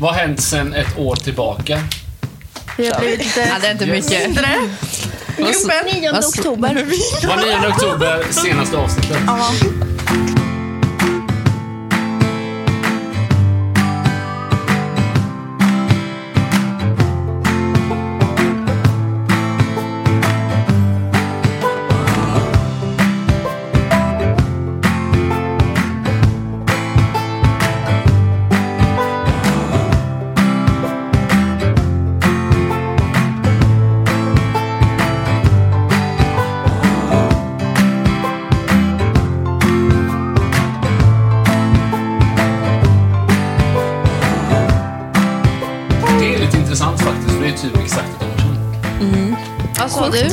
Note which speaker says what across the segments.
Speaker 1: Vad har hänt sen ett år tillbaka?
Speaker 2: Vi har blivit
Speaker 3: Ja, det är inte mycket.
Speaker 2: gruppen.
Speaker 4: 9
Speaker 3: Vad s-
Speaker 4: oktober.
Speaker 1: Var 9 oktober, senaste avsnittet. Det är lite intressant faktiskt, för det är typ exakt ett år sedan.
Speaker 3: Vad sa du?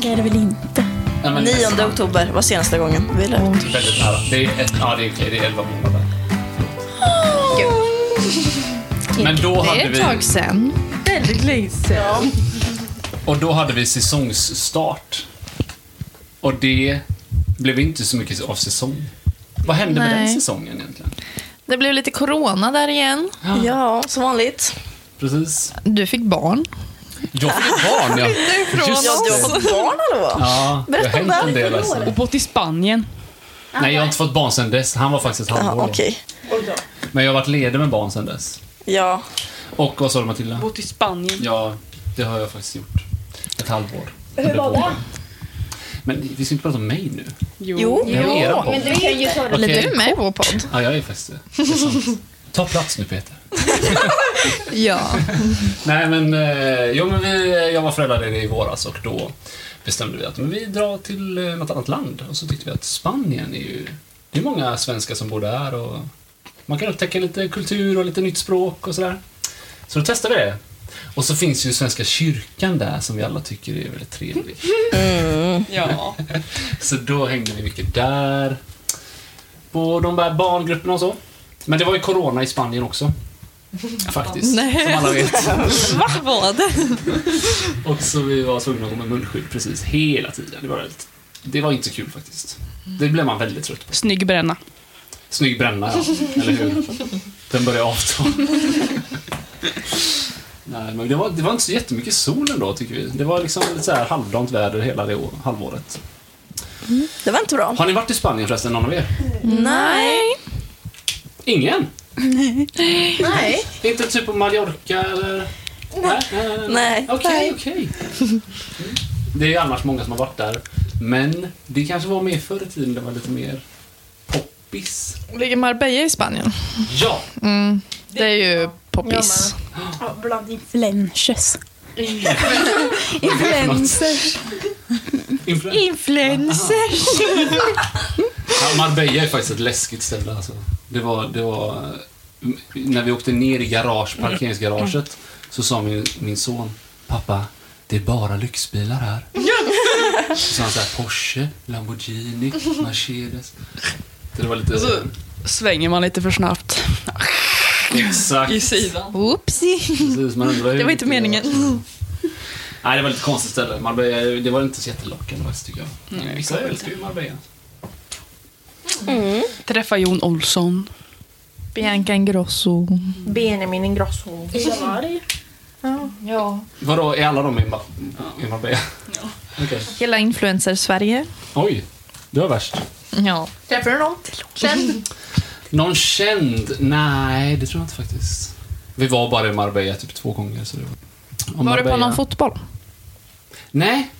Speaker 4: Det är det väl inte.
Speaker 1: Nej, men
Speaker 5: 9
Speaker 1: nästan.
Speaker 5: oktober var senaste gången vi lät.
Speaker 1: Väldigt nära. Det är, ett, ja, det är, okej, det är 11 månader. Förlåt. Men då
Speaker 3: Det
Speaker 1: hade
Speaker 3: är ett
Speaker 1: vi,
Speaker 3: tag sen.
Speaker 2: Väldigt länge sedan.
Speaker 1: och då hade vi säsongsstart. Och det blev inte så mycket av säsong. Vad hände med den
Speaker 3: Nej.
Speaker 1: säsongen egentligen?
Speaker 3: Det blev lite corona där igen.
Speaker 5: Ja, som vanligt.
Speaker 1: Precis.
Speaker 3: Du fick barn.
Speaker 1: Jag fick ett barn, ja.
Speaker 5: Ja, du har fått barn hallå?
Speaker 1: ja det har
Speaker 5: Berätta om
Speaker 1: hänt en
Speaker 5: det.
Speaker 1: del alltså.
Speaker 6: Och bott i Spanien.
Speaker 1: Ah, Nej, Ah, jag har inte fått barn sedan dess. Han var faktiskt ett halvår.
Speaker 5: Ja,
Speaker 1: då.
Speaker 5: okej.
Speaker 1: Men jag har varit ledig med barn sedan dess.
Speaker 5: Ja.
Speaker 1: Och vad sa du Matilda?
Speaker 6: Bott i Spanien.
Speaker 1: Ja, det har jag faktiskt gjort. Ett halvår. Hur var det? Men vi ska inte prata om mig nu.
Speaker 5: Jo.
Speaker 1: Jag är era podd.
Speaker 4: Men du kan ju ta
Speaker 3: Är
Speaker 4: det
Speaker 1: Okej.
Speaker 3: du med i vår podd?
Speaker 1: Ja, jag är faktiskt det. det. är sant. Ta plats nu Peter.
Speaker 3: Ja.
Speaker 1: Nej men, eh, jo, men vi, jag var föräldraledig i våras och då bestämde vi att men vi drar till eh, något annat land. Och så tyckte vi att Spanien är ju, det är många svenskar som bor där och man kan upptäcka lite kultur och lite nytt språk och sådär. Så då testade vi det. Och så finns ju Svenska kyrkan där som vi alla tycker är väldigt trevlig.
Speaker 6: Ja.
Speaker 1: Så då hängde vi mycket där. På de där barngrupperna och så. Men det var ju corona i Spanien också. Faktiskt. Som alla vet.
Speaker 3: Vad var det?
Speaker 1: Och så vi var tvungna att gå med munskydd precis hela tiden. Det var, väldigt, det var inte kul faktiskt. Det blev man väldigt trött på.
Speaker 6: Snygg bränna.
Speaker 1: Snygg bränna, ja. eller hur? Den börjar avta. Nej, men det var, det var inte så jättemycket sol ändå, tycker vi. Det var liksom lite så här halvdant väder hela det år, halvåret.
Speaker 5: Det var inte bra.
Speaker 1: Har ni varit i Spanien förresten, någon av er?
Speaker 3: Nej.
Speaker 1: Ingen?
Speaker 4: Nej.
Speaker 1: Inte typ på Mallorca eller? Nej. nej,
Speaker 5: Nej.
Speaker 1: Okej, okej. Mm. Det är ju annars många som har varit där. Men det kanske var mer förr i tiden, det var lite mer poppis.
Speaker 3: Ligger Marbella i Spanien?
Speaker 1: Ja,
Speaker 3: Det är ju poppis.
Speaker 4: Bland influencers.
Speaker 1: Influencers. influencer.
Speaker 2: Influencers.
Speaker 1: Ja, Marbella är faktiskt ett läskigt ställe alltså. Det var, det var... När vi åkte ner i garage, parkeringsgaraget så sa min, min son, pappa, det är bara lyxbilar här. Så sa han så här, Porsche, Lamborghini, Mercedes. Så det var lite...
Speaker 6: Så svänger man lite för snabbt
Speaker 1: exakt.
Speaker 6: i sidan.
Speaker 3: Oopsie.
Speaker 1: Precis, man undrar ju
Speaker 3: Det var inte
Speaker 1: lite-
Speaker 3: meningen.
Speaker 1: Nej, det var lite konstigt ställe. Marbella, det var inte så jättelockande faktiskt tycker jag. Mm, Vissa älskar ju Marbella.
Speaker 6: Träffa Jon Olsson.
Speaker 3: Bianca Ingrosso.
Speaker 2: Benjamin Ingrosso. Ja.
Speaker 1: Vadå, är alla de i, Ma- i Marbella? Okej.
Speaker 3: Hela influencer-Sverige.
Speaker 1: Oj, det var värst.
Speaker 3: Ja.
Speaker 2: Träffar du någon? Känd?
Speaker 1: Någon känd? Nej, det tror jag inte faktiskt. Vi var bara i Marbella typ två gånger. Så det var Och
Speaker 3: Var du på
Speaker 1: Marbella-
Speaker 3: någon fotboll?
Speaker 1: Nej.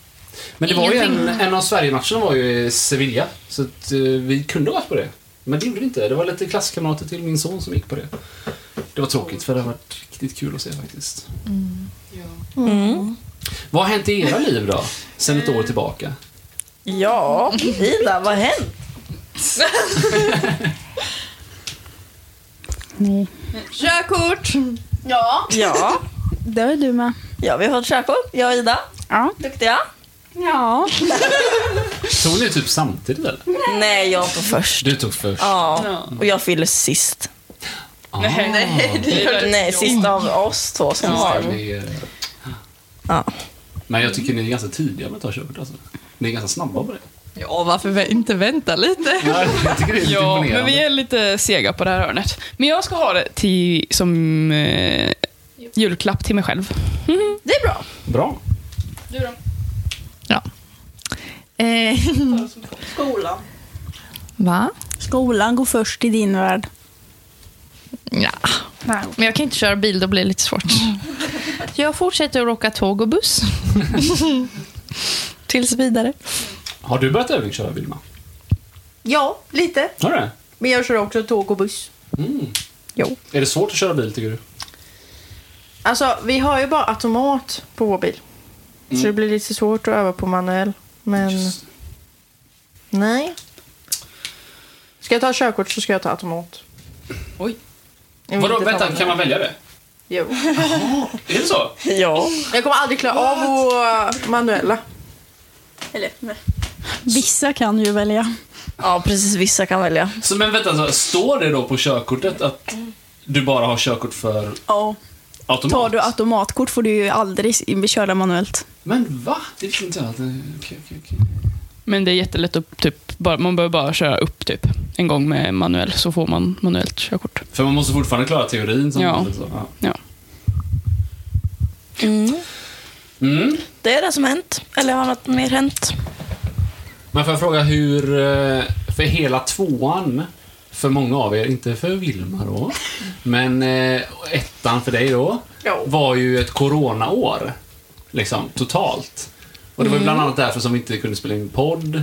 Speaker 1: Men det var ju en,
Speaker 3: Ingenting.
Speaker 1: en av Sverigematcherna var ju i Sevilla. Så att, eh, vi kunde ha varit på det. Men det gjorde vi inte. Det var lite klasskamrater till min son som gick på det. Det var tråkigt för det har varit riktigt kul att se faktiskt. Vad har hänt i era liv då? Sen ett år tillbaka?
Speaker 5: Ja, Ida, vad har hänt?
Speaker 3: Körkort!
Speaker 4: Ja.
Speaker 5: Ja.
Speaker 4: Det är du med.
Speaker 5: ja, vi har fått körkort, jag och Ida.
Speaker 6: Ja.
Speaker 5: Duktiga.
Speaker 4: Ja.
Speaker 1: Tog ni typ samtidigt eller?
Speaker 5: Nej, jag tog först.
Speaker 1: Du tog först.
Speaker 5: Ja, och jag fyller sist.
Speaker 1: Ah,
Speaker 5: Nej, sista av oss två som har.
Speaker 1: det är-
Speaker 5: Ja.
Speaker 1: Men jag tycker ni är ganska tidiga med att ta körkort alltså. Ni är ganska snabba på det.
Speaker 3: Ja, varför vä- inte vänta lite?
Speaker 1: Ja, jag tycker det är lite
Speaker 6: Ja,
Speaker 1: imponerande.
Speaker 6: men vi är lite sega på det här hörnet. Men jag ska ha det till, som eh, julklapp till mig själv.
Speaker 5: Det är bra.
Speaker 1: Bra.
Speaker 3: Eh,
Speaker 5: Skolan.
Speaker 3: va?
Speaker 4: Skolan går först i din värld.
Speaker 3: Ja.
Speaker 4: Nej.
Speaker 3: Men jag kan inte köra bil, då blir det lite svårt. Jag fortsätter att åka tåg och buss. Tills vidare.
Speaker 1: Har du börjat övningsköra, Vilma?
Speaker 2: Ja, lite.
Speaker 1: Har du det?
Speaker 2: Men jag kör också tåg och buss.
Speaker 1: Mm.
Speaker 2: Jo.
Speaker 1: Är det svårt att köra bil, tycker du?
Speaker 2: Alltså, vi har ju bara automat på vår bil.
Speaker 5: Mm.
Speaker 2: Så det blir lite svårt att öva på manuell. Men
Speaker 1: Just-
Speaker 2: nej. Ska jag ta körkort så ska jag ta automat.
Speaker 6: Oj.
Speaker 2: Jag vill
Speaker 1: Vadå,
Speaker 2: inte ta
Speaker 1: vänta,
Speaker 2: manuell.
Speaker 1: kan man välja det?
Speaker 2: Jo.
Speaker 1: Är det så?
Speaker 5: Ja.
Speaker 2: Jag kommer aldrig klara av att manuella.
Speaker 4: Eller, nej. Vissa kan ju välja.
Speaker 5: Ja, precis. Vissa kan välja.
Speaker 1: Så, men vänta, så, står det då på körkortet att du bara har körkort för
Speaker 4: Ja.
Speaker 1: automat?
Speaker 4: Tar du automatkort får du ju aldrig s- köra manuellt.
Speaker 1: Men va? Det visste inte jag. att det- Okej, okej, okej.
Speaker 6: Men det är jättelätt att typ, bara, man behöver bara köra upp typ en gång med manuell så får man manuellt körkort.
Speaker 1: För man måste fortfarande klara teorin. Som
Speaker 6: Ja.
Speaker 1: Så, ja.
Speaker 5: Mm.
Speaker 1: Mm.
Speaker 5: Det är det som hänt. Eller har något mer hänt?
Speaker 1: Men får jag fråga hur, eh, för hela tvåan, för många av er, inte för Vilma då, men eh, ettan för dig då,
Speaker 2: Ja.
Speaker 1: var ju ett coronaår. Liksom, totalt. Och det var ju bland
Speaker 5: Mm.
Speaker 1: annat därför som vi inte kunde spela in podd.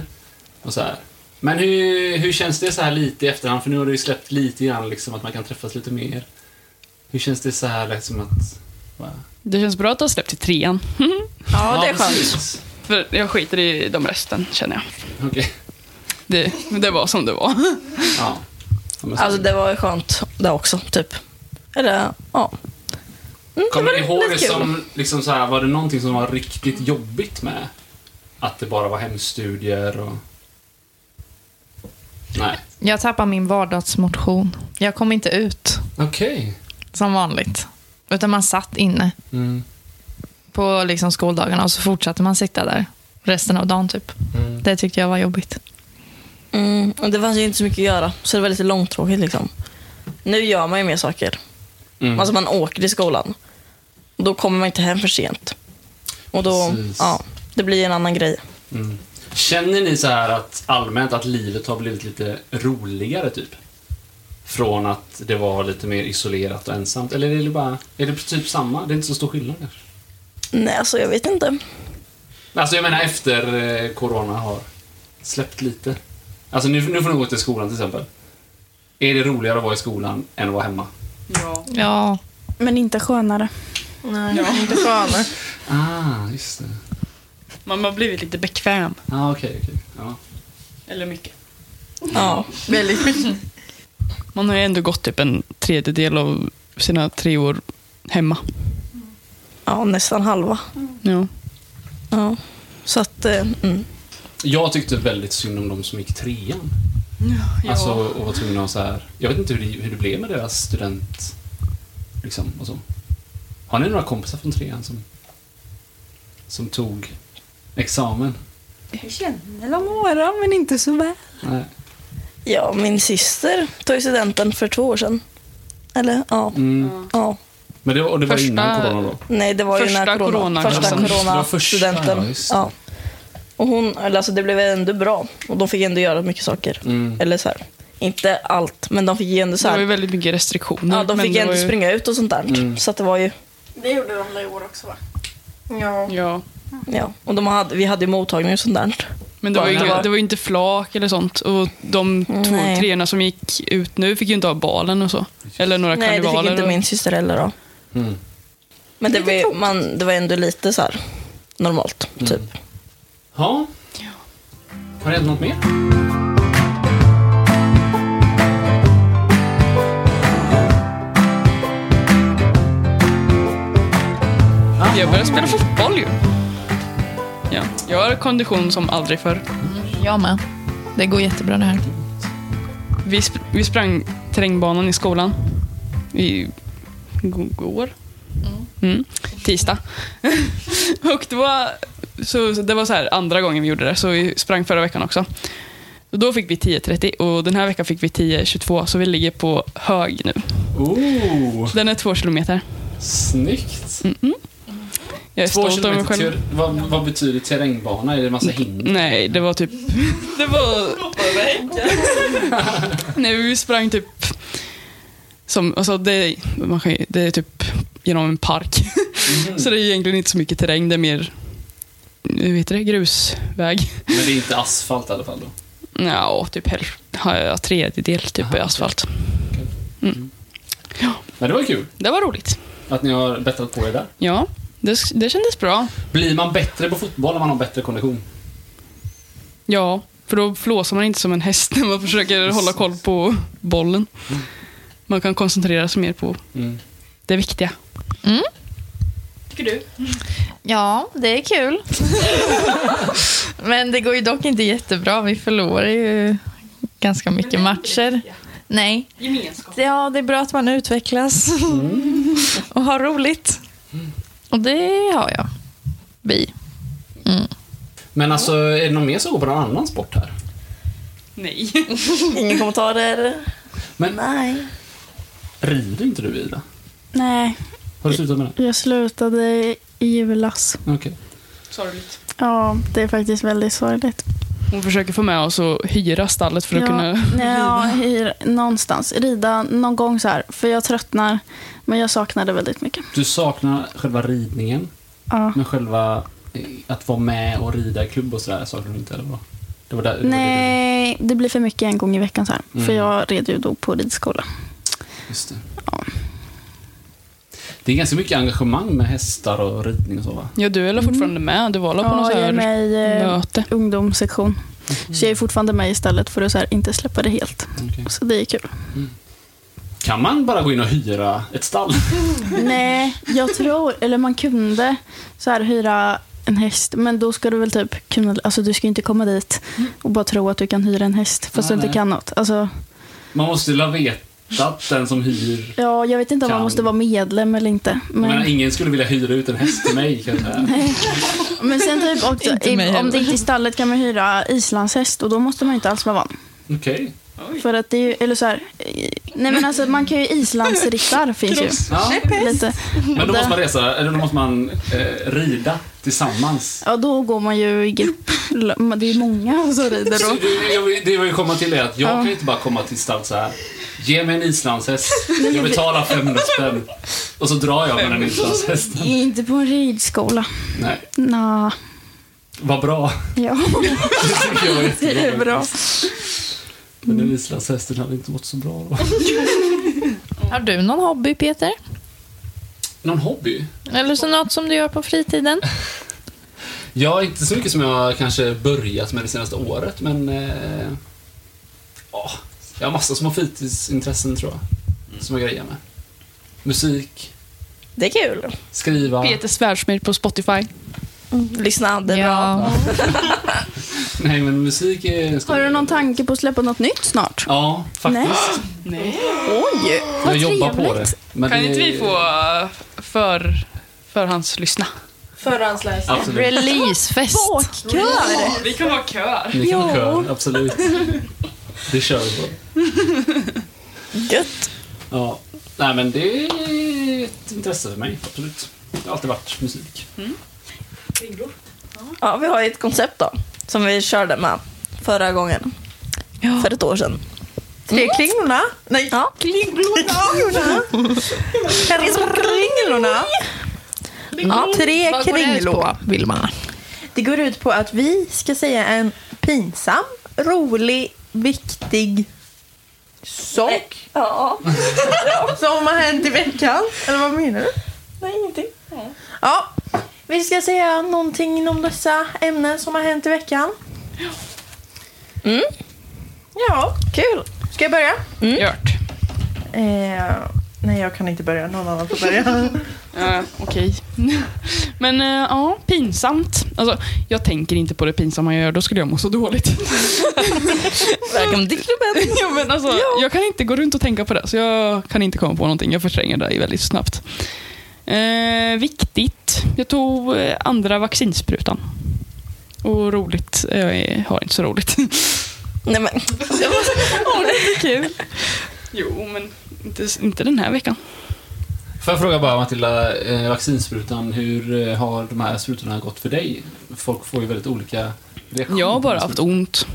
Speaker 1: Och så här. Men hur, hur känns det så här lite i efterhand? För nu har du ju släppt lite grann, liksom, att man kan träffas lite mer. Hur känns det så här liksom att... va?
Speaker 6: Det känns bra att ha släppt till trean.
Speaker 5: Ja, det är skönt.
Speaker 1: precis.
Speaker 6: För jag skiter i de resten känner jag.
Speaker 1: Okej.
Speaker 6: Det, det var som det var.
Speaker 1: Ja. Ja, men så-
Speaker 5: Alltså, det var ju skönt det också, typ. Eller, ja. Mm,
Speaker 1: Kommer ni
Speaker 5: var
Speaker 1: ihåg det
Speaker 5: rätt kul.
Speaker 1: som, liksom så här, var det någonting som var riktigt jobbigt med? Att det bara var hemstudier och... Nej.
Speaker 3: Jag tappar min vardagsmotion. Jag kom inte ut,
Speaker 1: Okej.
Speaker 3: som vanligt. Utan man satt inne
Speaker 1: Mm.
Speaker 3: på liksom skoldagarna och så fortsatte man sitta där resten av dagen. typ.
Speaker 1: Mm.
Speaker 3: Det tyckte jag var jobbigt.
Speaker 5: Mm, och det fanns ju inte så mycket att göra, så det var lite långtråkigt liksom. Nu gör man ju mer saker.
Speaker 1: Mm.
Speaker 5: Alltså man åker till skolan. Då kommer man inte hem för sent. Och då,
Speaker 1: Precis.
Speaker 5: ja, det blir en annan grej.
Speaker 1: Mm. Känner ni så här att allmänt att livet har blivit lite roligare typ? Från att det var lite mer isolerat och ensamt? Eller är det bara, är det typ samma? Det är inte så stor skillnad kanske?
Speaker 5: Nej, alltså jag vet inte.
Speaker 1: Alltså jag menar efter eh, corona har släppt lite. Alltså nu, nu får ni gå till skolan till exempel. Är det roligare att vara i skolan än att vara hemma?
Speaker 3: Ja,
Speaker 4: Men inte skönare.
Speaker 2: Nej, inte skönare.
Speaker 1: Ah, just det.
Speaker 6: Man har blivit lite bekväm.
Speaker 1: Ah, okej, okej. Ja.
Speaker 6: Eller mycket.
Speaker 5: Ja.
Speaker 2: Väldigt mycket.
Speaker 6: Man har ju ändå gått typ en tredjedel av sina tre år hemma.
Speaker 5: ja, nästan halva.
Speaker 6: Ja.
Speaker 5: Ja. Så att, eh, mm.
Speaker 1: Jag tyckte väldigt synd om de som gick trean. Alltså, och var tvungna att så här... Jag vet inte hur det, hur det blev med deras student... Liksom, och så. Har ni några kompisar från trean som... Som tog examen?
Speaker 4: Jag känner väl några, men inte så väl.
Speaker 1: Nej.
Speaker 5: ja, min syster tog ju studenten för två år sedan. Eller, ja.
Speaker 1: Mm.
Speaker 5: ja.
Speaker 1: Men det, var- och det var
Speaker 6: Första-
Speaker 1: innan corona då?
Speaker 5: Nej, det var ju
Speaker 6: Första
Speaker 5: när corona,
Speaker 6: coronan,
Speaker 5: första
Speaker 6: alltså.
Speaker 1: Det var första, ja,
Speaker 5: coronastudenten.
Speaker 1: just det.
Speaker 5: Ja. Och hon, eller alltså det blev ändå bra. Och de fick ändå göra mycket saker.
Speaker 1: Mm.
Speaker 5: Eller så här, inte allt, men de fick ju ändå så
Speaker 6: Det var ju
Speaker 5: här,
Speaker 6: väldigt mycket restriktioner.
Speaker 5: ja, de
Speaker 6: men
Speaker 5: fick
Speaker 6: det
Speaker 5: ju ändå
Speaker 6: var ju-
Speaker 5: springa ut och sånt där.
Speaker 1: Mm.
Speaker 5: Så att det var ju,
Speaker 4: Det gjorde de i år också va?
Speaker 2: Ja.
Speaker 6: Ja.
Speaker 5: ja. Och de hade, vi hade ju mottagning och sånt där.
Speaker 6: Men det var, ju,
Speaker 1: Bara-
Speaker 6: det var ju inte flak eller sånt. Och de två,
Speaker 5: Nej.
Speaker 6: treorna som gick ut nu fick ju inte ha balen och så. Eller några
Speaker 5: Nej, det
Speaker 6: karnevaler.
Speaker 5: fick inte
Speaker 6: och-
Speaker 5: min syster heller då.
Speaker 1: Mm.
Speaker 5: Men det var, ju- man, det var ändå lite så här normalt,
Speaker 1: Mm.
Speaker 5: typ.
Speaker 1: Ja. Har det hänt något mer?
Speaker 6: Jag började spela fotboll ju. Ja. Jag har kondition som aldrig förr.
Speaker 3: jag med. Det går jättebra det här.
Speaker 6: Vi, sp- vi sprang terrängbanan i skolan. I går? Mm. Tisdag. och det var, så, så det var så här andra gången vi gjorde det, så vi sprang förra veckan också. Och Då fick vi 10.30 och den här veckan fick vi 10.22, så vi ligger på hög nu.
Speaker 1: Oh,
Speaker 6: Den är två kilometer.
Speaker 1: snyggt!
Speaker 6: Mm, Jag är
Speaker 1: Två
Speaker 6: stolt över mig
Speaker 1: kilometer
Speaker 6: själv.
Speaker 1: tur. Vad, vad betyder terrängbana? Är det en massa hinder?
Speaker 6: Nej, det var typ... Det var... Nej, vi sprang typ... Som, alltså det, man kan, ju- det är typ genom en park. Så det är egentligen inte så mycket terräng, det är mer... Hur heter det? Grusväg?
Speaker 1: Men det är inte asfalt i alla fall då?
Speaker 6: Ja, typ hälf- ja, tredjedel typ
Speaker 1: Aha,
Speaker 6: är asfalt.
Speaker 1: Men det var kul
Speaker 6: Det var roligt.
Speaker 1: att ni har bättrat på er där.
Speaker 6: Ja, det, det kändes bra.
Speaker 1: Blir man bättre på fotboll om man har bättre kondition?
Speaker 6: Ja, för då flåsar man inte som en häst när man försöker hålla koll på bollen. Man kan koncentrera sig mer på
Speaker 1: Mm.
Speaker 6: det viktiga.
Speaker 3: Ja, det är kul. Men det går ju dock inte jättebra. Vi förlorar ju ganska mycket matcher. Nej. Gemenskap. Ja, det är bra att man utvecklas och har roligt. Och det har jag. Vi.
Speaker 1: Men alltså, är det någon mer som går på någon annan sport här?
Speaker 6: Nej.
Speaker 5: Inga kommentarer.
Speaker 1: Men
Speaker 5: Nej.
Speaker 1: rider inte du Ida?
Speaker 4: Nej,
Speaker 1: Har du slutat med det?
Speaker 4: jag slutade i julas.
Speaker 1: Okej.
Speaker 6: Sorgligt.
Speaker 4: Ja, det är faktiskt väldigt sorgligt.
Speaker 6: Hon försöker få med oss att hyra stallet för att
Speaker 4: ja,
Speaker 6: kunna...
Speaker 4: nej, ja, hyr, någonstans. Rida någon gång så här, för jag tröttnar. Men jag saknar det väldigt mycket.
Speaker 1: Du saknar själva ridningen,
Speaker 6: Mm.
Speaker 4: Ja.
Speaker 1: men själva eh, att vara med och rida i klubb och sådär saknar du inte eller vad? Det var där, det var det
Speaker 4: Nej, det blir för mycket en gång i veckan så här. För
Speaker 1: Mm.
Speaker 4: jag red ju då på ridskola.
Speaker 1: du- Just det. Det är ganska mycket engagemang med hästar och ridning och så va?
Speaker 6: Ja, du är väl fortfarande med? Du var väl på något så
Speaker 4: Ja, jag är
Speaker 6: här Mm.
Speaker 4: med i eh,
Speaker 6: möte?
Speaker 4: ungdomssektion. Så jag är fortfarande med istället för att så här, inte släppa det helt.
Speaker 1: Okej.
Speaker 4: Så det är kul.
Speaker 1: Kan man bara gå in och hyra ett stall?
Speaker 4: Nej, jag tror, eller man kunde så här hyra en häst, men då ska du väl typ kunna, alltså du ska ju inte komma dit och bara tro att du kan hyra en häst fast
Speaker 1: Nej,
Speaker 4: du
Speaker 1: nej.
Speaker 4: inte kan något. Alltså,
Speaker 1: Man måste ju ha vetat den som hyr.
Speaker 4: ja, jag vet inte om
Speaker 1: Kan.
Speaker 4: man måste vara medlem eller inte.
Speaker 1: Men...
Speaker 4: Men,
Speaker 1: ingen skulle vilja hyra ut en häst till mig kan jag säga.
Speaker 4: men sen typ också,
Speaker 3: Inte mig
Speaker 4: i, om
Speaker 3: heller.
Speaker 4: det inte är i stallet kan man hyra islandshäst och då måste man ju inte alls vara van.
Speaker 1: Okej.
Speaker 4: För att det är ju, eller så här, eh, nej men alltså man kan ju islandsryttar finns ju.
Speaker 1: Ja.
Speaker 4: Lite.
Speaker 1: Men då
Speaker 4: Där-
Speaker 1: måste man resa, eller då måste man eh, rida tillsammans.
Speaker 4: Ja, då går man ju i grupp. Det är ju många som rider då.
Speaker 1: Det jag vill- det jag vill komma till är att jag
Speaker 4: Ja.
Speaker 1: kan inte bara komma till stall så här. Ge mig en islandshäst, jag betalar 500 spänn. Och så drar jag med den islandshästen.
Speaker 4: Inte på en ridskola.
Speaker 1: Nej,
Speaker 4: Nja,
Speaker 1: vad bra.
Speaker 4: ja.
Speaker 1: Det tycker jag var jättebra.
Speaker 4: Det är bra.
Speaker 1: Men den islandshästen hade inte mått så bra då.
Speaker 3: Har du någon hobby, Peter?
Speaker 1: Någon hobby?
Speaker 3: Eller så något som du gör på fritiden?
Speaker 1: Ja, inte så mycket som jag kanske börjat med det senaste året, men... Eh, ja, jag har massa små fritidsintressen, tror jag. Som jag grejer med. Musik,
Speaker 5: Det är kul.
Speaker 1: skriva...
Speaker 6: Peter Svärdsmed på Spotify.
Speaker 5: Lyssna, det är bra.
Speaker 1: Nej, men musik är...
Speaker 4: Har du någon tanke på att släppa något nytt snart?
Speaker 1: Ja, faktiskt.
Speaker 6: Nej.
Speaker 4: Oj!
Speaker 1: jag jobbar på det. Men
Speaker 6: Kan
Speaker 1: det-
Speaker 6: inte vi få eh, för, förhandslyssna?
Speaker 5: Förhandsläsning.
Speaker 1: Absolut.
Speaker 3: Releasefest.
Speaker 4: Bakkör!
Speaker 6: Vi kan ha kör.
Speaker 1: Ni kan ha
Speaker 4: Ja.
Speaker 1: kör, absolut. Det kör vi på.
Speaker 5: Gött.
Speaker 1: Ja. Nej, men det är ett intresse för mig, absolut. Det har alltid varit musik.
Speaker 5: Ja, vi har ju ett koncept då. Som vi körde med förra gången. För ett år sedan.
Speaker 3: Tre klingorna. Nej,
Speaker 5: Ja.
Speaker 3: klingorna. Kringorna.
Speaker 5: Ja,
Speaker 7: Tre
Speaker 3: Vad går det ut
Speaker 7: kringlor.
Speaker 3: på, Vilma?
Speaker 7: Det går ut på att vi ska säga en pinsam, rolig, viktig sak
Speaker 5: Ja.
Speaker 7: som har hänt i veckan. Eller vad menar du?
Speaker 5: Nej, ingenting.
Speaker 7: Ja, vi ska säga någonting inom dessa ämnen som har hänt i veckan.
Speaker 5: Mm.
Speaker 7: Ja, kul. Ska jag börja?
Speaker 6: Gjort.
Speaker 7: Eh, nej, jag kan inte börja. Någon annan får börja.
Speaker 6: Ja, Eh, Okej. Men eh, ja, pinsamt. Alltså, jag tänker inte på det pinsamma jag gör, då skulle jag må så dåligt.
Speaker 5: Välkommen till klubben.
Speaker 6: ja, men alltså, Jag kan inte gå runt och tänka på det, så jag kan inte komma på någonting. Jag förtränger det väldigt snabbt. Eh, viktigt. Jag tog eh, andra vaccinsprutan. Och roligt. Jag har inte så roligt.
Speaker 5: Nej men,
Speaker 6: Kul. Jo, men inte, inte den här veckan.
Speaker 1: Får jag fråga bara Matilda, eh, vaccinsprutan, hur eh, har de här sprutorna gått för dig? Folk får ju väldigt olika reaktioner.
Speaker 6: Jag har bara
Speaker 1: på
Speaker 6: haft
Speaker 1: sprutor.
Speaker 6: ont.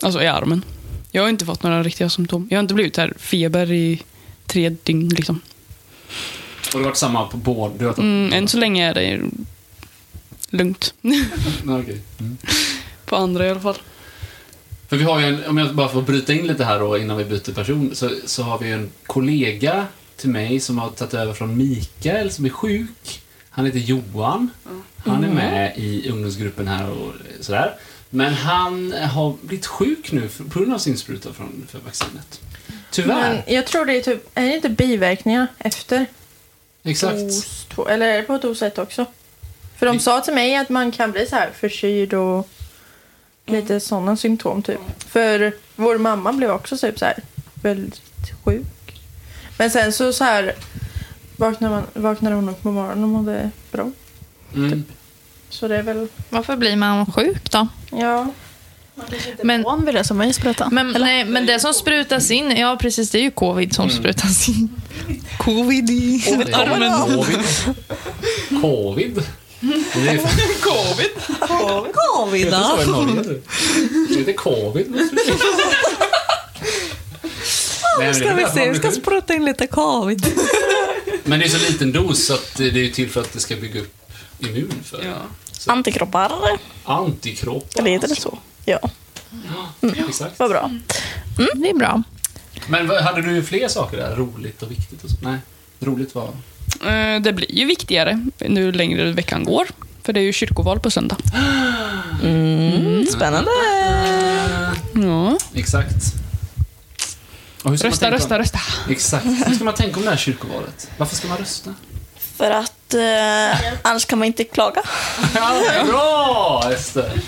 Speaker 6: Alltså i armen. Jag har inte fått några riktiga symptom. Jag har inte blivit här feber i tre dygn. Liksom.
Speaker 1: Och det har varit samma på båda? Du har tagit-
Speaker 6: Mm, än så länge är det lugnt.
Speaker 1: Nej, okej. Mm.
Speaker 6: På andra i alla fall.
Speaker 1: För vi har ju en, om jag bara får bryta in lite här då innan vi byter person, så, så har vi ju en kollega till mig som har tagit över från Mikael som är sjuk. Han heter Johan. Han är med i ungdomsgruppen här och sådär. Men han har blivit sjuk nu för- på grund av sin spruta från, för vaccinet. Tyvärr.
Speaker 7: Men jag tror det är typ, är det inte biverkningar efter
Speaker 1: Exakt.
Speaker 7: dos två? Eller är det på dos ett också? För de sa till mig att man kan bli så här förkyld och lite sådana symptom typ. För vår mamma blev också typ så här väldigt sjuk. Men sen så så här vaknade, man, vaknade hon upp på morgonen och mådde bra.
Speaker 1: Mm.
Speaker 7: Så det är väl,
Speaker 3: Varför blir man sjuk då?
Speaker 7: ja.
Speaker 3: Men,
Speaker 4: Van vid det som är sprutan.
Speaker 3: men, nej, men det som sprutas in, ja precis, det är ju covid som sprutas in. Covid i
Speaker 1: Covid. Covid. Det är fan
Speaker 5: covid
Speaker 1: så i Norge. du. Det heter covid. Nu
Speaker 5: Ska vi se, vi ska spruta in lite covid.
Speaker 1: Men det är så liten dos så att det är ju till för att det ska bygga upp immun för
Speaker 5: Antikroppar,
Speaker 1: antikroppar.
Speaker 5: eller heter det så? Ja,
Speaker 1: Exakt.
Speaker 5: vad bra.
Speaker 3: Mm, Det är bra.
Speaker 1: Men vad- hade du fler saker där? Roligt och viktigt och så? Nej, roligt var...
Speaker 6: Eh, Det blir ju viktigare nu längre veckan går. För det är ju kyrkoval på söndag.
Speaker 5: Mm, spännande. Eh.
Speaker 6: Ja.
Speaker 1: Exakt. Och hur ska man
Speaker 6: Rösta,
Speaker 1: tänka om-
Speaker 6: rösta, rösta.
Speaker 1: Exakt. Hur ska man tänka om det här kyrkovalet? Varför ska man rösta?
Speaker 5: För att eh, annars kan man inte klaga.
Speaker 1: Ja, bra Ester!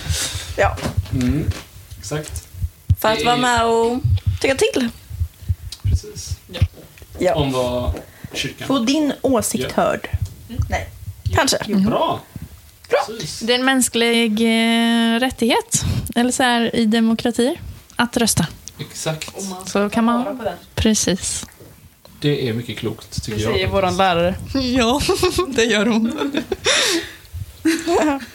Speaker 5: Ja.
Speaker 1: Mm, exakt.
Speaker 5: För att vara med och tycka till.
Speaker 1: Precis.
Speaker 5: Ja.
Speaker 1: Om vad kyrkan...
Speaker 7: Få din åsikt
Speaker 1: Ja.
Speaker 7: hörd. Nej.
Speaker 5: Kanske.
Speaker 1: Bra! Bra! Precis.
Speaker 3: Det är en mänsklig eh, rättighet, eller så här i demokratier, att rösta.
Speaker 1: Exakt.
Speaker 3: Så kan man... Precis.
Speaker 1: Det är mycket klokt, tycker
Speaker 6: Det säger
Speaker 1: jag.
Speaker 6: våran lärare.
Speaker 3: Ja, det gör hon.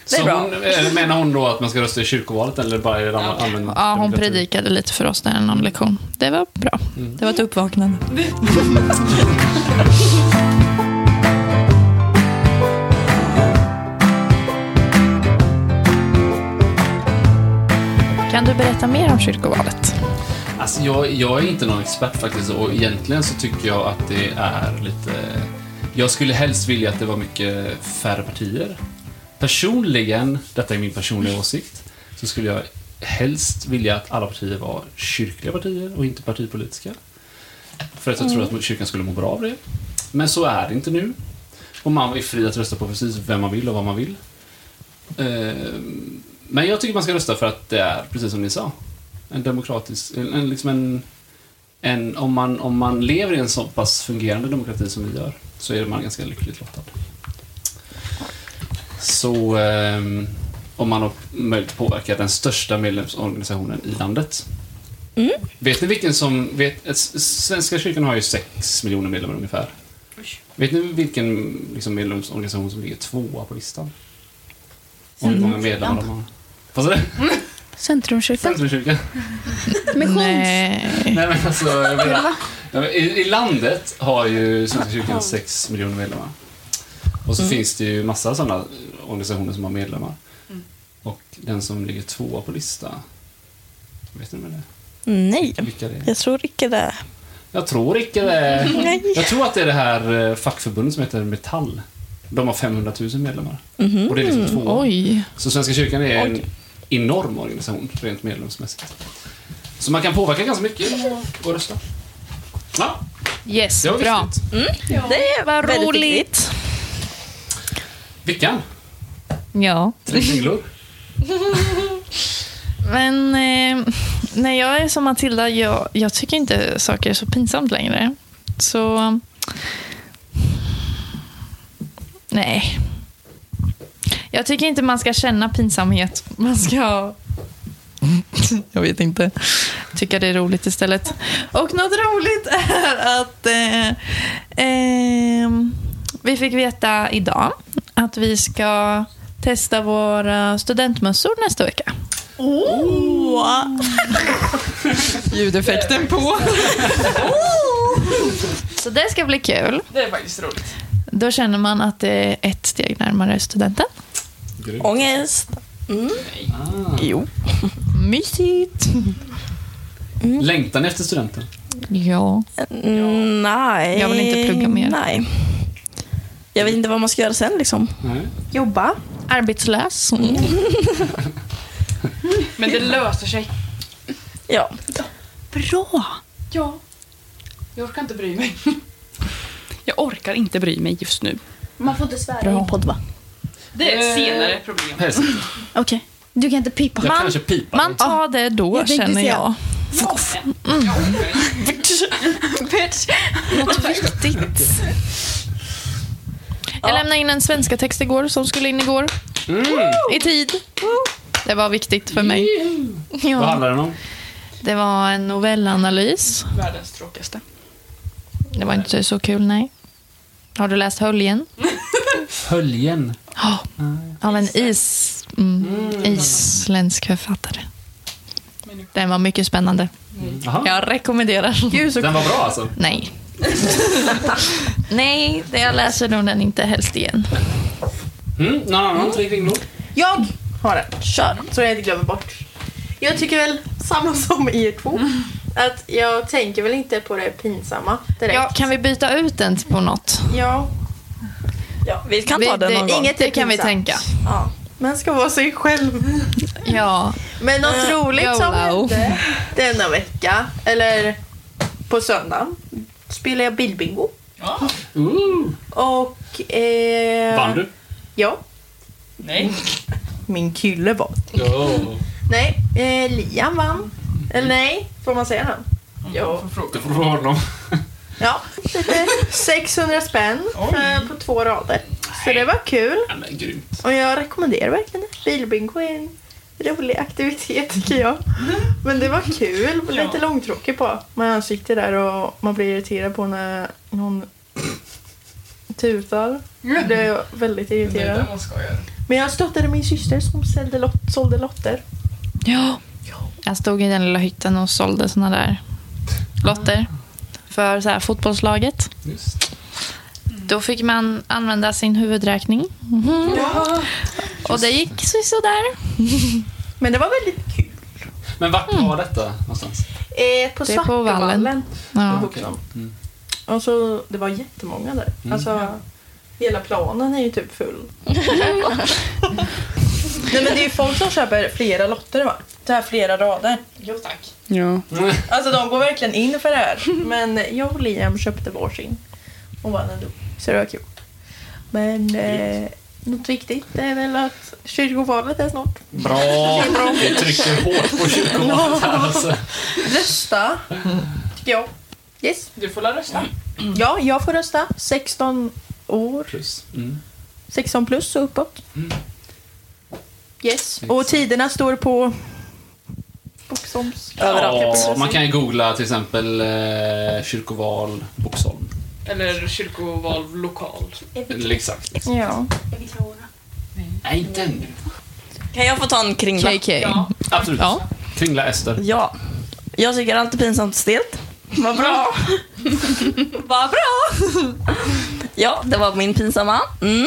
Speaker 1: Det är bra. Hon, eh, menar hon då att man ska rösta i kyrkovalet eller bara i den allmänna
Speaker 3: Ja, hon
Speaker 1: demokratin?
Speaker 3: predikade lite för oss där i någon lektion. Det var bra. Det var ett uppvaknande. Kan du berätta mer om kyrkovalet?
Speaker 1: Alltså jag, jag är inte någon expert faktiskt och egentligen så tycker jag att det är lite... Jag skulle helst vilja att det var mycket färre partier. Personligen, detta är min personliga åsikt, så skulle jag helst vilja att alla partier var kyrkliga partier och inte partipolitiska. För att jag tror att kyrkan skulle må bra av det. Men så är det inte nu. Och man är fri att rösta på precis vem man vill och vad man vill. Ehm, Men jag tycker man ska rösta för att det är, precis som ni sa, en demokratisk, en, en, liksom en, en om, man, om man lever i en så pass fungerande demokrati som vi gör så är man ganska lyckligt lottad. Så ehm, om man har möjlighet att påverka den största medlemsorganisationen i landet. Vet ni vilken som, vet, s- s- Svenska kyrkan har ju 6 miljoner medlemmar ungefär. Vet ni vilken liksom, medlemsorganisation som ligger tvåa på listan? Och hur många medlemmar de har? Vad sa du?
Speaker 3: Mm.
Speaker 4: Centrumkyrkan.
Speaker 1: Centrumkyrkan?
Speaker 3: Nej.
Speaker 1: Nej men alltså, jag menar, Ja, men i, i landet har ju Svenska kyrkan 6 miljoner medlemmar. Och
Speaker 3: Mm.
Speaker 1: så finns det ju massa sådana organisationer som har medlemmar.
Speaker 3: Mm.
Speaker 1: Och den som ligger tvåa på lista, vet ni med
Speaker 5: Nej,
Speaker 1: det? Vilka det är?
Speaker 5: jag tror inte det.
Speaker 1: Jag tror inte det.
Speaker 5: Nej.
Speaker 1: Jag tror att det är det här eh, fackförbundet som heter Metall. De har 500 000 medlemmar. Och det är liksom tvåa.
Speaker 3: Mhm. Oj.
Speaker 1: Så Svenska kyrkan är en enorm organisation rent medlemsmässigt. Så man kan påverka ganska mycket genom att gå och rösta. Ja,
Speaker 3: Yes,
Speaker 1: det var
Speaker 3: bra.
Speaker 1: viktigt.
Speaker 5: Det var
Speaker 3: roligt.
Speaker 1: Vickan,
Speaker 3: Ja.
Speaker 1: tre singlor.
Speaker 3: Men eh, när jag är som Matilda, jag, jag tycker inte saker är så pinsamt längre. Så Nej. Jag tycker inte man ska känna pinsamhet. Man ska... Jag vet inte. Tycka det är roligt istället. Och något roligt är att eh, ehm, vi fick veta idag att vi ska testa våra studentmössor nästa vecka.
Speaker 6: Ljudeffekten på.
Speaker 3: Så det ska bli kul.
Speaker 6: Det är faktiskt roligt.
Speaker 3: Då känner man att det är ett steg närmare studenten.
Speaker 5: Ångest.
Speaker 3: Jo. Mysigt.
Speaker 1: Längtan efter studenten.
Speaker 3: Ja.
Speaker 5: Mm, Nej.
Speaker 3: Jag vill inte plugga mer.
Speaker 5: Nej. Jag vet inte vad man ska göra sen liksom.
Speaker 1: Nej.
Speaker 2: Jobba.
Speaker 3: Arbetslös.
Speaker 6: Mm. Men det löser sig.
Speaker 5: Ja.
Speaker 4: Bra!
Speaker 6: Ja. Jag orkar inte bry mig. Jag orkar inte bry mig just nu.
Speaker 4: Man får inte svära i en podd va?
Speaker 6: Det är ett senare problem.
Speaker 1: Helst.
Speaker 4: Okej. Du kan inte pipa.
Speaker 1: Jag
Speaker 3: Man-
Speaker 1: kanske pipar
Speaker 3: Man
Speaker 1: lite.
Speaker 3: tar det då,
Speaker 4: Jag tänkte
Speaker 3: känner
Speaker 4: säga-
Speaker 3: jag. Jag lämnade in en svenska text igår som skulle in igår.
Speaker 1: Mm.
Speaker 3: I tid. Det var viktigt för mig.
Speaker 6: Mm.
Speaker 1: Vad
Speaker 3: Ja.
Speaker 1: handlar den om?
Speaker 3: Det var en novellanalys.
Speaker 6: Världens tråkigaste.
Speaker 3: Det var inte så kul, nej. Har du läst Höljen?
Speaker 1: Höljen.
Speaker 3: Ja. Av en is, mm, isländsk författare. Den var mycket spännande.
Speaker 1: Jaha.
Speaker 3: Jag rekommenderar.
Speaker 1: Den var bra alltså.
Speaker 3: Nej. nej, det jag läser nog den inte helst igen.
Speaker 1: Mm. Någon annan Tre Kringlor?
Speaker 2: Jag har det.
Speaker 5: Kör.
Speaker 2: Så jag inte glömmer bort. Jag tycker väl samma som er två. Att jag tänker väl inte på det pinsamma direkt.
Speaker 3: Ja, kan vi byta ut den på något?
Speaker 2: ja.
Speaker 5: Ja, vi kan ta
Speaker 3: Vi-
Speaker 5: den
Speaker 3: det-
Speaker 5: någon gång.
Speaker 3: Inget det kan vi
Speaker 2: pinsamt.
Speaker 3: tänka.
Speaker 2: ja. Man ska vara sig själv.
Speaker 3: Ja.
Speaker 2: Men något roligt som
Speaker 3: Eh, YOLO.
Speaker 2: hände denna vecka, eller på söndagen, spelade jag bilbingo.
Speaker 1: Ooh.
Speaker 2: Och... Eh,
Speaker 1: Vann du?
Speaker 2: Ja.
Speaker 6: Nej.
Speaker 2: Min kille vann.
Speaker 1: Ja.
Speaker 2: Nej, eh, Liam vann. Eller nej, får man säga han? Ja.
Speaker 1: Du får fråga honom.
Speaker 2: Ja, lite 600 spänn eh, på två rader. Så det var kul.
Speaker 1: Ja, men grymt.
Speaker 2: Och jag rekommenderar verkligen det. Bilbingo är en rolig aktivitet tycker jag. Men det var kul och lite långtråkig på. Man sitter där och man blir irriterad på när någon tutar. Jag
Speaker 6: Mm.
Speaker 2: blev väldigt irriterad.
Speaker 6: man ska göra.
Speaker 2: Men jag stöttade min syster som sålde, lot- sålde lotter.
Speaker 3: Ja. Jag stod i den lilla hytten och sålde såna där lotter för så här, fotbollslaget.
Speaker 1: Just.
Speaker 3: Då fick man använda sin huvudräkning. Mhm. Och det gick så- sådär.
Speaker 2: Men det var väldigt kul.
Speaker 1: Men vart var detta någonstans?
Speaker 2: Eh, på
Speaker 3: Det är på Vallen.
Speaker 2: Svartåvallen.
Speaker 3: Ja.
Speaker 2: Också.
Speaker 1: Mm.
Speaker 2: Och så, det var jättemånga där. Alltså, hela planen är ju typ full. Nej men det är ju folk som köper flera lotter va? Det här flera rader. Jo tack.
Speaker 6: Ja.
Speaker 2: Alltså de går verkligen in för det här. Men jag och Liam köpte varsin. Och vann ändå. Så det var kul. Men eh, något viktigt är väl att kyrkovalet är snart.
Speaker 1: Bra. Vi trycker hårt på kyrkovalet här alltså.
Speaker 2: Rösta. Tycker jag. Yes.
Speaker 6: Du får lära rösta.
Speaker 1: Mm,
Speaker 2: Ja, jag får rösta. 16 år.
Speaker 1: Plus. Mm.
Speaker 2: 16 plus och uppåt.
Speaker 7: Mm.
Speaker 2: Yes. Och
Speaker 1: Exakt.
Speaker 2: tiderna står på Boxholms.
Speaker 1: Ja, man kan ju googla till exempel eh, kyrkoval Boxholm.
Speaker 6: Eller kyrkoval lokalt.
Speaker 1: Eller exakt.
Speaker 2: Ja.
Speaker 1: Nej, inte ännu.
Speaker 5: Kan jag få ta en kringla?
Speaker 3: KK.
Speaker 1: Absolut.
Speaker 3: Ja.
Speaker 1: Kringla Ester.
Speaker 5: Ja. Jag tycker allt är pinsamt och stelt. Vad bra. Vad bra. ja, det var min pinsamma. Mm.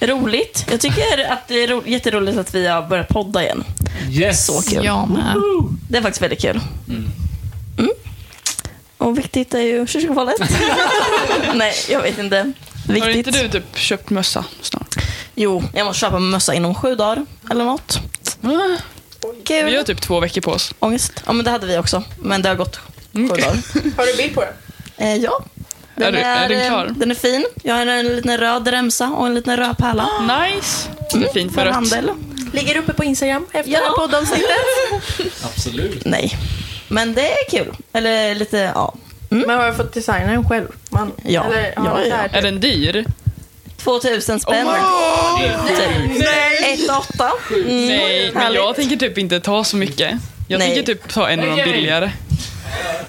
Speaker 5: Roligt. Jag tycker att det är ro- jätteroligt att vi har börjat podda igen.
Speaker 1: Yes!
Speaker 5: Så kul.
Speaker 3: Jag med.
Speaker 5: Det är faktiskt väldigt kul. Mm. Och viktigt är ju kyrkovalet. Nej, jag vet inte. Viktigt.
Speaker 6: Har inte du typ köpt mössa snart?
Speaker 5: Jo, jag måste köpa mössa inom sju dagar eller något.
Speaker 6: Vi har
Speaker 5: Kul.
Speaker 6: typ två veckor på oss.
Speaker 5: Ångest. Ja, men det hade vi också. Men det har gått
Speaker 6: Mm.
Speaker 5: sju dagar.
Speaker 2: Har du bild på det?
Speaker 5: Eh, ja.
Speaker 6: Är du- är den
Speaker 5: eh,
Speaker 6: klar?
Speaker 5: den är fin. Jag har en liten röd remsa och en liten röd pärla.
Speaker 6: Nice! Det är fint
Speaker 5: Från
Speaker 6: för Ah, rött.
Speaker 5: Mm. handel.
Speaker 2: Ligger uppe på Instagram efter
Speaker 5: Ja.
Speaker 2: ja. poddavsnittet.
Speaker 1: Absolut.
Speaker 5: Nej. Men det är kul. Eller lite, ja.
Speaker 2: Men har jag fått designa den själv? Man,
Speaker 5: Ja.
Speaker 2: Eller,
Speaker 5: Ja,
Speaker 2: så
Speaker 5: ja.
Speaker 2: här.
Speaker 6: Är den dyr?
Speaker 5: 2000 spänn. Typ. Ett och åtta. Mm,
Speaker 6: Nej, men jag
Speaker 5: Härligt.
Speaker 6: tänker typ inte ta så mycket. Jag
Speaker 5: Nej.
Speaker 6: tänker typ ta en av de billigare.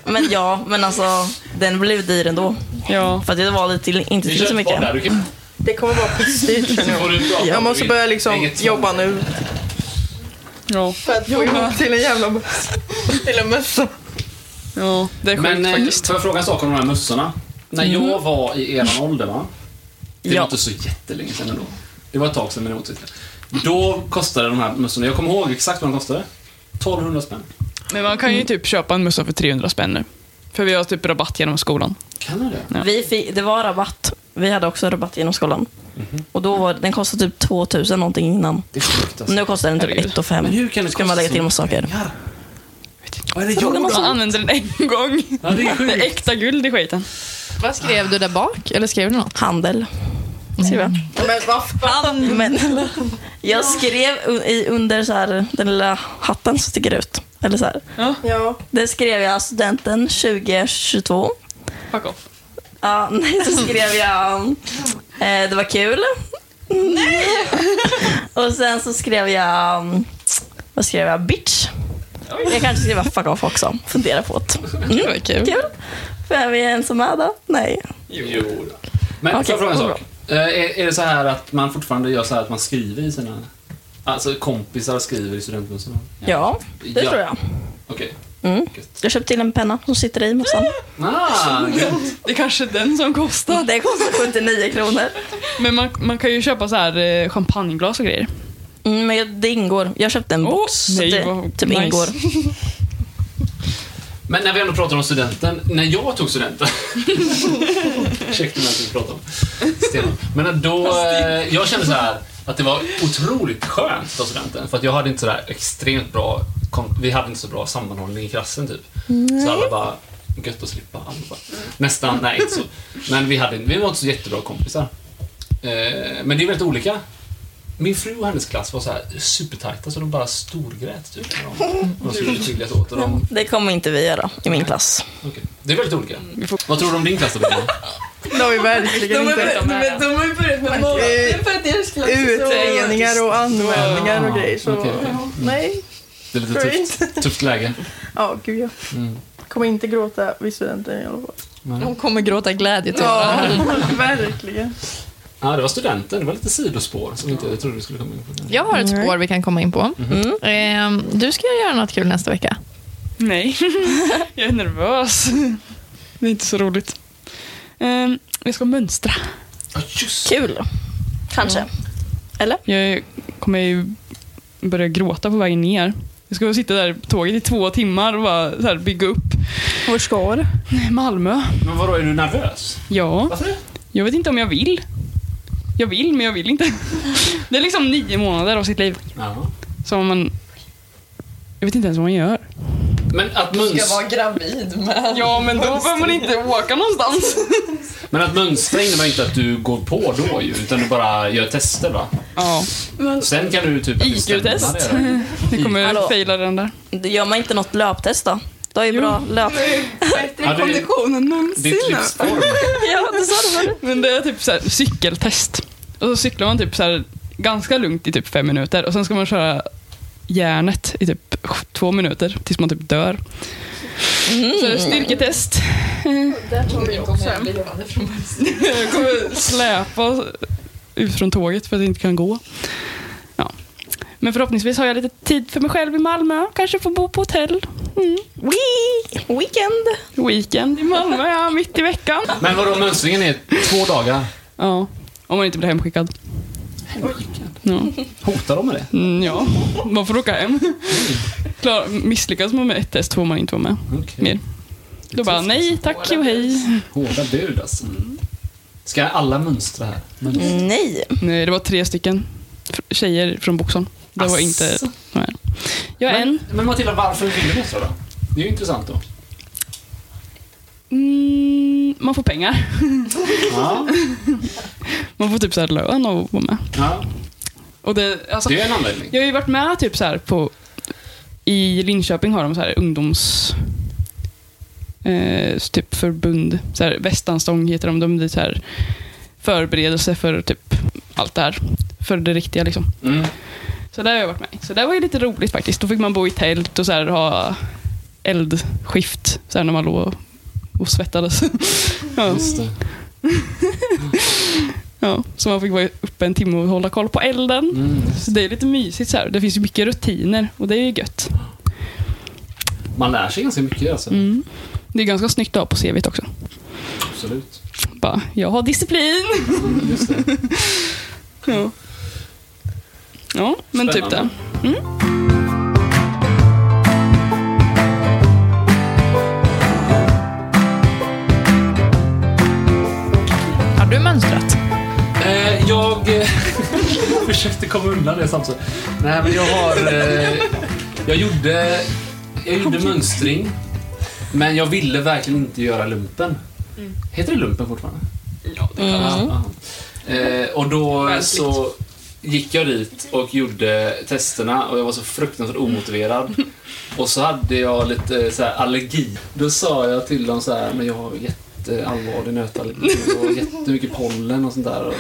Speaker 5: Men ja, men alltså den blev dyr ändå.
Speaker 6: Ja.
Speaker 5: För att det var lite till, inte
Speaker 1: Vi
Speaker 5: till
Speaker 1: kör
Speaker 5: så
Speaker 1: kvar
Speaker 5: mycket.
Speaker 1: där, du kan-
Speaker 7: Det kommer vara pissdyrt känner
Speaker 1: så får
Speaker 7: jag.
Speaker 1: du prata.
Speaker 7: Jag måste börja liksom
Speaker 1: Inget-
Speaker 7: jobba nu
Speaker 6: Ja.
Speaker 7: för att få ihop till en jävla mössa. Till en mössa.
Speaker 6: ja, det är sjukt
Speaker 1: Men eh,
Speaker 6: faktiskt.
Speaker 1: får jag fråga en sak om de här mössorna? När jag var i eran ålder, va? Det var
Speaker 5: Mm. Ja.
Speaker 1: inte så jättelänge sedan ändå. Det var ett tag sedan, men det var inte så jättelänge. Då kostade de här mössorna, jag kommer ihåg exakt vad de kostade. 1200 spänn.
Speaker 6: Men man kan ju typ köpa en mössa för 300 spänn nu. För vi har typ rabatt genom skolan.
Speaker 1: Kan jag det?
Speaker 5: Vi fick, det var rabatt. Vi hade också rabatt genom skolan.
Speaker 1: Mhm.
Speaker 5: Och då var den kostade typ 2000 någonting innan.
Speaker 1: Det är sjukt alltså.
Speaker 5: Nu kostar den typ
Speaker 6: Herregud.
Speaker 5: 1 och 5.
Speaker 1: Men hur kan det
Speaker 5: Ska man lägga till massa saker?
Speaker 1: pengar? Vad är det jag
Speaker 5: Frågan
Speaker 6: Man
Speaker 5: måste-
Speaker 6: använder den en gång.
Speaker 1: Ja, det är
Speaker 6: Det är
Speaker 5: Mm.
Speaker 1: sjukt.
Speaker 6: äkta guld i skiten.
Speaker 3: Vad skrev du där bak? Eller skrev du något?
Speaker 5: Handel.
Speaker 7: Men vad fan.
Speaker 5: Men jag skrev u- i- under så här, den lilla hatten som sticker ut. Eller så här.
Speaker 7: Ja.
Speaker 5: Det skrev jag studenten 2022.
Speaker 6: Fuck off.
Speaker 5: Ja, nej, så skrev jag eh, det var kul. Och sen så skrev jag, mm, vad skrev jag, bitch. Jag kanske skrev fuck off också, fundera på det. Mm.
Speaker 3: Det var kul.
Speaker 5: Kul. Vem är en som är då? Nej.
Speaker 1: Jo. då. Men
Speaker 5: Okej,
Speaker 1: får jag fråga en
Speaker 5: vad
Speaker 1: sak? Eh, Är, är det så här att man fortfarande gör så här att man skriver i sina... Alltså kompisar skriver i studentmössorna?
Speaker 5: Ja, det tror jag.
Speaker 1: Okej.
Speaker 5: Mm.
Speaker 1: Gött.
Speaker 5: Jag köpte till en penna som sitter i mössan.
Speaker 1: Ah, gött.
Speaker 6: Det är kanske är den som kostar.
Speaker 5: Det kostar 79 kronor.
Speaker 6: Men man, man kan ju köpa så här eh, champagneglas och grejer.
Speaker 5: Mm, men jag- det ingår. Jag köpte en
Speaker 6: Åh,
Speaker 5: box. så
Speaker 6: nej,
Speaker 5: det
Speaker 6: vad
Speaker 5: typ
Speaker 6: nice.
Speaker 5: ingår.
Speaker 1: Men när vi ändå pratar om studenten, när jag tog studenten. Ursäkta om jag inte pratar om Stefan. Men när då, eh, jag kände så här att det var otroligt skönt att ta studenten. För att jag hade inte så där extremt bra, kon- vi hade inte så bra sammanhållning i klassen typ. Så alla bara, gött att slippa allt. Nästan, nej inte så. Men vi, hade, vi var inte så jättebra kompisar. Eh, Men det är väldigt olika. Min fru och hennes klass var så här supertajta så de bara storgrät typ när de, när de skulle skiljas åt. Och de,
Speaker 5: Det kommer inte vi göra i min klass.
Speaker 1: Okej. Det är väldigt olika. Vad tror du om din klass då, Bella?
Speaker 7: De är verkligen inte
Speaker 5: har ju börjat med mål.
Speaker 7: utredningar och anmälningar och grejer. Så
Speaker 1: Okej, okej.
Speaker 7: nej.
Speaker 1: Det är lite
Speaker 7: Tror
Speaker 1: tufft, Mm. tufft läge.
Speaker 7: Ja, gud ja. Kommer inte gråta vid studenten i alla fall.
Speaker 6: Mm.
Speaker 3: Hon kommer gråta glädjetårar.
Speaker 7: Ja, verkligen.
Speaker 1: Ja, det var studenten. Det var lite sidospår som inte jag trodde vi skulle komma in på.
Speaker 3: Jag har ett spår vi kan komma in på. Ehm, Du ska göra något kul nästa vecka.
Speaker 6: Nej, jag är nervös. Det är inte så roligt. Ehm, Jag ska mönstra.
Speaker 1: Ja, just det.
Speaker 5: Kul. Kanske.
Speaker 6: Jag kommer ju börja gråta på vägen ner. Jag ska sitta där på tåget i två timmar och bara så här bygga upp.
Speaker 4: Vår skar.
Speaker 6: Malmö.
Speaker 1: Men vadå, är du nervös?
Speaker 6: Ja,
Speaker 1: Varför det?
Speaker 6: jag vet inte om jag vill. Jag vill, men jag vill inte. Det är liksom nio månader av sitt liv
Speaker 1: Ja.
Speaker 6: som man... Jag vet inte ens vad man gör.
Speaker 1: Men att, möns-
Speaker 7: gravid med.
Speaker 6: Ja, men då behöver man inte åka någonstans.
Speaker 1: men att mönstra innebär inte att du går på då ju, utan du bara gör tester va?
Speaker 6: Ja,
Speaker 1: Sen kan du typ
Speaker 6: IQ-test.
Speaker 1: bestämma det. då.
Speaker 6: det kommer
Speaker 5: Hallå.
Speaker 6: fejla den där.
Speaker 5: Det Gör man inte något löptest då? Du har ju bra löp...
Speaker 1: Ja, det- typ
Speaker 7: Konditionen någonsin.
Speaker 1: Ditt
Speaker 6: alltså.
Speaker 1: livsform.
Speaker 5: Ja, du sa det förut.
Speaker 6: Men det är typ så här, cykeltest. Och så cyklar man typ så här, ganska lugnt i typ fem minuter och sen ska man köra järnet i typ två minuter tills man typ dör. Så det är styrketest. Jag kommer släpa ut från tåget för att jag inte kan gå. Ja. Men förhoppningsvis har jag lite tid för mig själv i Malmö. Kanske får bo på hotell. Mm.
Speaker 5: Wee! Weekend.
Speaker 6: Weekend i Malmö, ja, mitt i veckan.
Speaker 1: Men vadå, mönstringen är två dagar?
Speaker 6: Ja, om man inte blir hemskickad. Ja.
Speaker 1: Hotar de med det?
Speaker 6: Mm, ja, man får åka hem. Klar, misslyckas man med ett test får man inte vara med
Speaker 1: Okej.
Speaker 6: mer. Då bara nej tack och hej.
Speaker 1: Hårda bud alltså. Ska alla mönstra här? Mönstra.
Speaker 5: Nej.
Speaker 6: Nej, det var tre stycken f- tjejer från Boxholm. Det var inte...
Speaker 1: Asså.
Speaker 6: Nej. Jag är en.
Speaker 1: Men Matilda, varför vill du mönstra då? Det är ju intressant då.
Speaker 6: Mm, man får pengar.
Speaker 1: Ja,
Speaker 6: Man får typ så här lön av att vara med.
Speaker 1: ja.
Speaker 6: Och det, alltså,
Speaker 1: Det är en anledning.
Speaker 6: jag har ju varit med typ så här på... I Linköping har de så här ungdoms... Eh, typ förbund. Så här, Västanstång heter de. De är så här förberedelse för typ allt det här. För det riktiga liksom.
Speaker 1: Mm.
Speaker 6: Så där har jag varit med. Så det var ju lite roligt faktiskt. Då fick man bo i tält och så här ha eldskift så här när man låg och- och svettades. ja. ja, så man fick vara uppe en timme och hålla koll på elden.
Speaker 1: Mm.
Speaker 6: Så det är lite mysigt så här. Det finns ju mycket rutiner och det är ju gött.
Speaker 1: Man lär sig ganska mycket alltså.
Speaker 6: Mm. Det är ganska snyggt att ha på CVt också.
Speaker 1: Absolut.
Speaker 6: Bara, jag har disciplin.
Speaker 1: Just det.
Speaker 6: Ja, ja men typ det.
Speaker 1: Spännande.
Speaker 3: Har du mönstrat?
Speaker 1: Eh, jag eh, försökte komma undan det samtidigt. Nej, men jag har... Eh, jag gjorde, jag gjorde mönstring, men jag ville verkligen inte göra lumpen. Heter det lumpen fortfarande? Ja, eh, Och då så gick jag dit och gjorde testerna och jag var så fruktansvärt omotiverad. Och så hade jag lite eh, så här, allergi. Då sa jag till dem så här, men jag har jätteallvarlig nötallergi och jättemycket pollen och sånt där. Och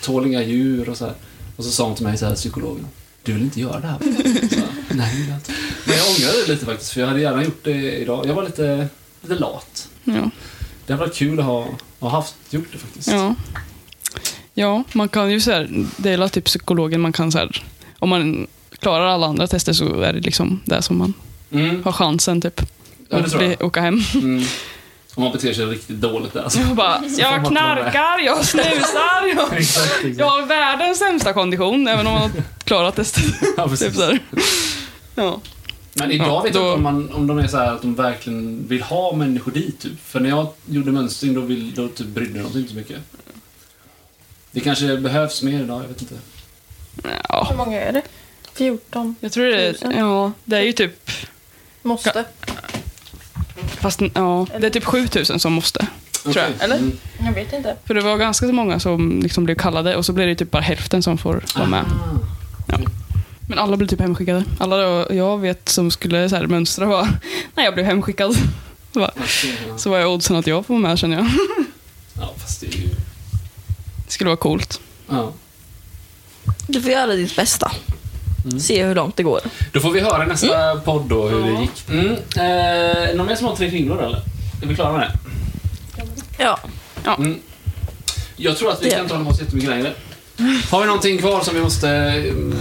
Speaker 1: tål inga djur och så här. Och så sa hon till mig så här, psykologen. Du vill inte göra det här? va?" Så, här, Nej, det vill jag inte. Men jag ångrar det lite faktiskt, för jag hade gärna gjort det idag. Jag var lite, lite lat.
Speaker 6: Ja.
Speaker 1: Det hade varit kul att ha, ha haft gjort det faktiskt.
Speaker 6: Ja. ja, man kan ju så här, det är väl typ psykologen man kan så här, om man klarar alla andra tester så är det liksom det som man
Speaker 1: Mm.
Speaker 6: har chansen typ.
Speaker 1: Ja, det
Speaker 6: Att
Speaker 1: tror
Speaker 6: bli,
Speaker 1: jag.
Speaker 6: åka hem.
Speaker 1: Mm. Om man beter sig riktigt dåligt där. Alltså.
Speaker 6: Jag bara,
Speaker 1: man
Speaker 6: jag
Speaker 1: inte vara med.
Speaker 6: knarkar, jag snusar, jag,
Speaker 1: Exakt, exakt.
Speaker 6: jag har världens sämsta kondition, även om man har klarat testet.
Speaker 1: Ja,
Speaker 6: Typ
Speaker 1: precis.
Speaker 6: så här. Ja.
Speaker 1: Men idag
Speaker 6: Ja,
Speaker 1: vet jag
Speaker 6: då-
Speaker 1: inte om, man, om de är så här att de verkligen vill ha människor dit. Typ. För när jag gjorde mönstring då, vill, då typ brydde de sig inte så mycket. Det kanske behövs mer idag, jag vet inte.
Speaker 6: ja,
Speaker 7: Hur många är det? 14
Speaker 6: jag tror det är, ja, det är ju typ,
Speaker 7: måste.
Speaker 6: fast, ja, det är typ 7000 som måste. Tror jag,
Speaker 1: Okej.
Speaker 6: eller?
Speaker 1: Mm.
Speaker 7: Jag vet inte.
Speaker 6: För det var ganska så många som liksom blev kallade och så blev det typ bara hälften som får vara med.
Speaker 1: Ah.
Speaker 6: Men alla blev typ hemskickade. Alla då, jag vet som skulle så här mönstra var, nej jag blev hemskickad. Så, bara,
Speaker 1: okej, ja.
Speaker 6: så var jag oddsen att jag får vara med känner jag.
Speaker 1: Ja, fast det är ju...
Speaker 6: Det skulle vara coolt.
Speaker 1: Ja.
Speaker 5: Du får göra ditt bästa. Se hur långt det går.
Speaker 1: Då får vi höra i nästa podd då hur det gick. Mm. Eh, någon mer som har tre kringlor eller? Är vi klara med det?
Speaker 5: Ja.
Speaker 1: Mm. Jag tror att vi
Speaker 5: Det
Speaker 1: kan
Speaker 5: gör
Speaker 1: inte hålla oss jättemycket längre. Har vi någonting kvar som vi måste... mm,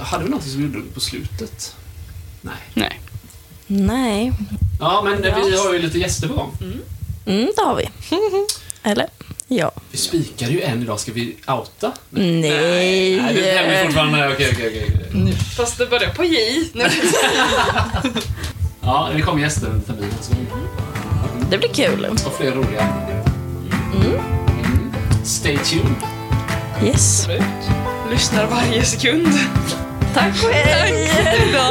Speaker 1: Hade vi någonting som vi gjorde på slutet?
Speaker 6: Nej.
Speaker 5: Nej.
Speaker 1: Ja, men
Speaker 5: Ja.
Speaker 1: vi har ju lite gäster på gång.
Speaker 5: Mm, det har vi. Eller? Ja.
Speaker 1: Vi spikar ju en idag. Ska vi outa?
Speaker 5: Nej.
Speaker 1: Nej, det är
Speaker 5: eh,
Speaker 1: hemligt fortfarande. Okej, okej, okej.
Speaker 6: Fast det börjar på J.
Speaker 1: Ja, det kommer gäster under terminen. Så
Speaker 5: Det blir kul.
Speaker 1: och fler roliga. Mm. Stay tuned.
Speaker 5: Yes.
Speaker 6: Lyssnar varje sekund.
Speaker 5: Tack och hej. Tack.